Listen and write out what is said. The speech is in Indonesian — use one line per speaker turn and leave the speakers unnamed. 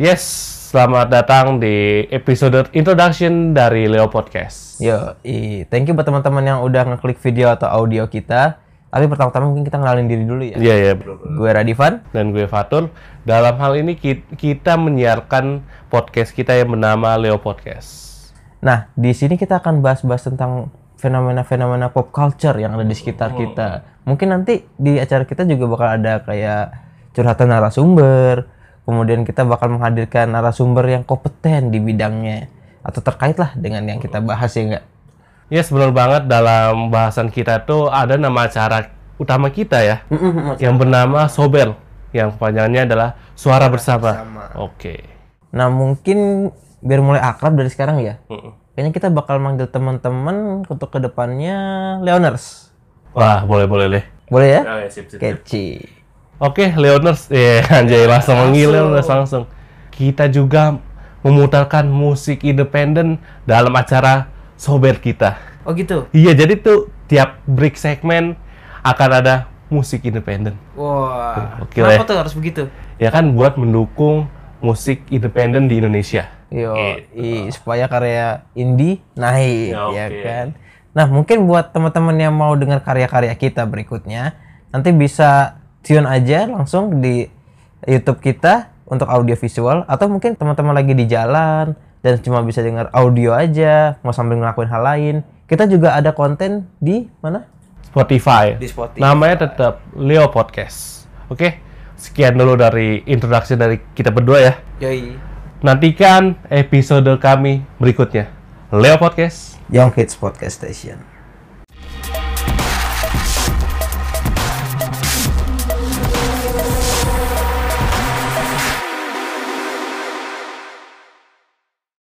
Yes, selamat datang di episode introduction dari Leo Podcast.
Yo, i, thank you buat teman-teman yang udah ngeklik video atau audio kita. Tapi pertama-tama mungkin kita ngenalin diri dulu ya.
Iya, iya.
Gue Radivan.
Dan gue Fatur. Dalam hal ini ki- kita menyiarkan podcast kita yang bernama Leo Podcast.
Nah, di sini kita akan bahas-bahas tentang fenomena-fenomena pop culture yang ada di sekitar kita. Mungkin nanti di acara kita juga bakal ada kayak curhatan narasumber. Kemudian kita bakal menghadirkan narasumber yang kompeten di bidangnya atau terkait lah dengan yang kita bahas ya enggak.
Yes, benar banget dalam bahasan kita tuh ada nama acara utama kita ya, yang bernama Sobel, yang panjangnya adalah Suara Bersama. Oke.
Nah, mungkin biar mulai akrab dari sekarang ya.
Mm-mm.
Kayaknya kita bakal manggil teman-teman untuk kedepannya Leoners.
Wah, boleh-boleh deh.
Boleh ya?
Oke, Oh, iya, sip, sip.
Catchy.
Oke, Leoners, eh anjay langsung menggila Leoners langsung. Kita juga memutarkan musik independen dalam acara sober kita.
Oh gitu.
Iya, jadi tuh tiap break segmen akan ada musik independen.
Wah.
Oke lah
Kenapa
ya.
tuh harus begitu?
Ya kan buat mendukung musik independen di Indonesia.
Yo, i, supaya karya indie naik
Ya,
ya
oke.
kan. Nah, mungkin buat teman-teman yang mau dengar karya-karya kita berikutnya, nanti bisa tune aja langsung di YouTube kita untuk audio visual atau mungkin teman-teman lagi di jalan dan cuma bisa dengar audio aja, mau sambil ngelakuin hal lain. Kita juga ada konten di mana? Nah,
Spotify.
Di Spotify.
Namanya tetap Leo Podcast. Oke, sekian dulu dari introduksi dari kita berdua ya.
Yoi.
Nantikan episode kami berikutnya. Leo Podcast.
Young Kids Podcast Station.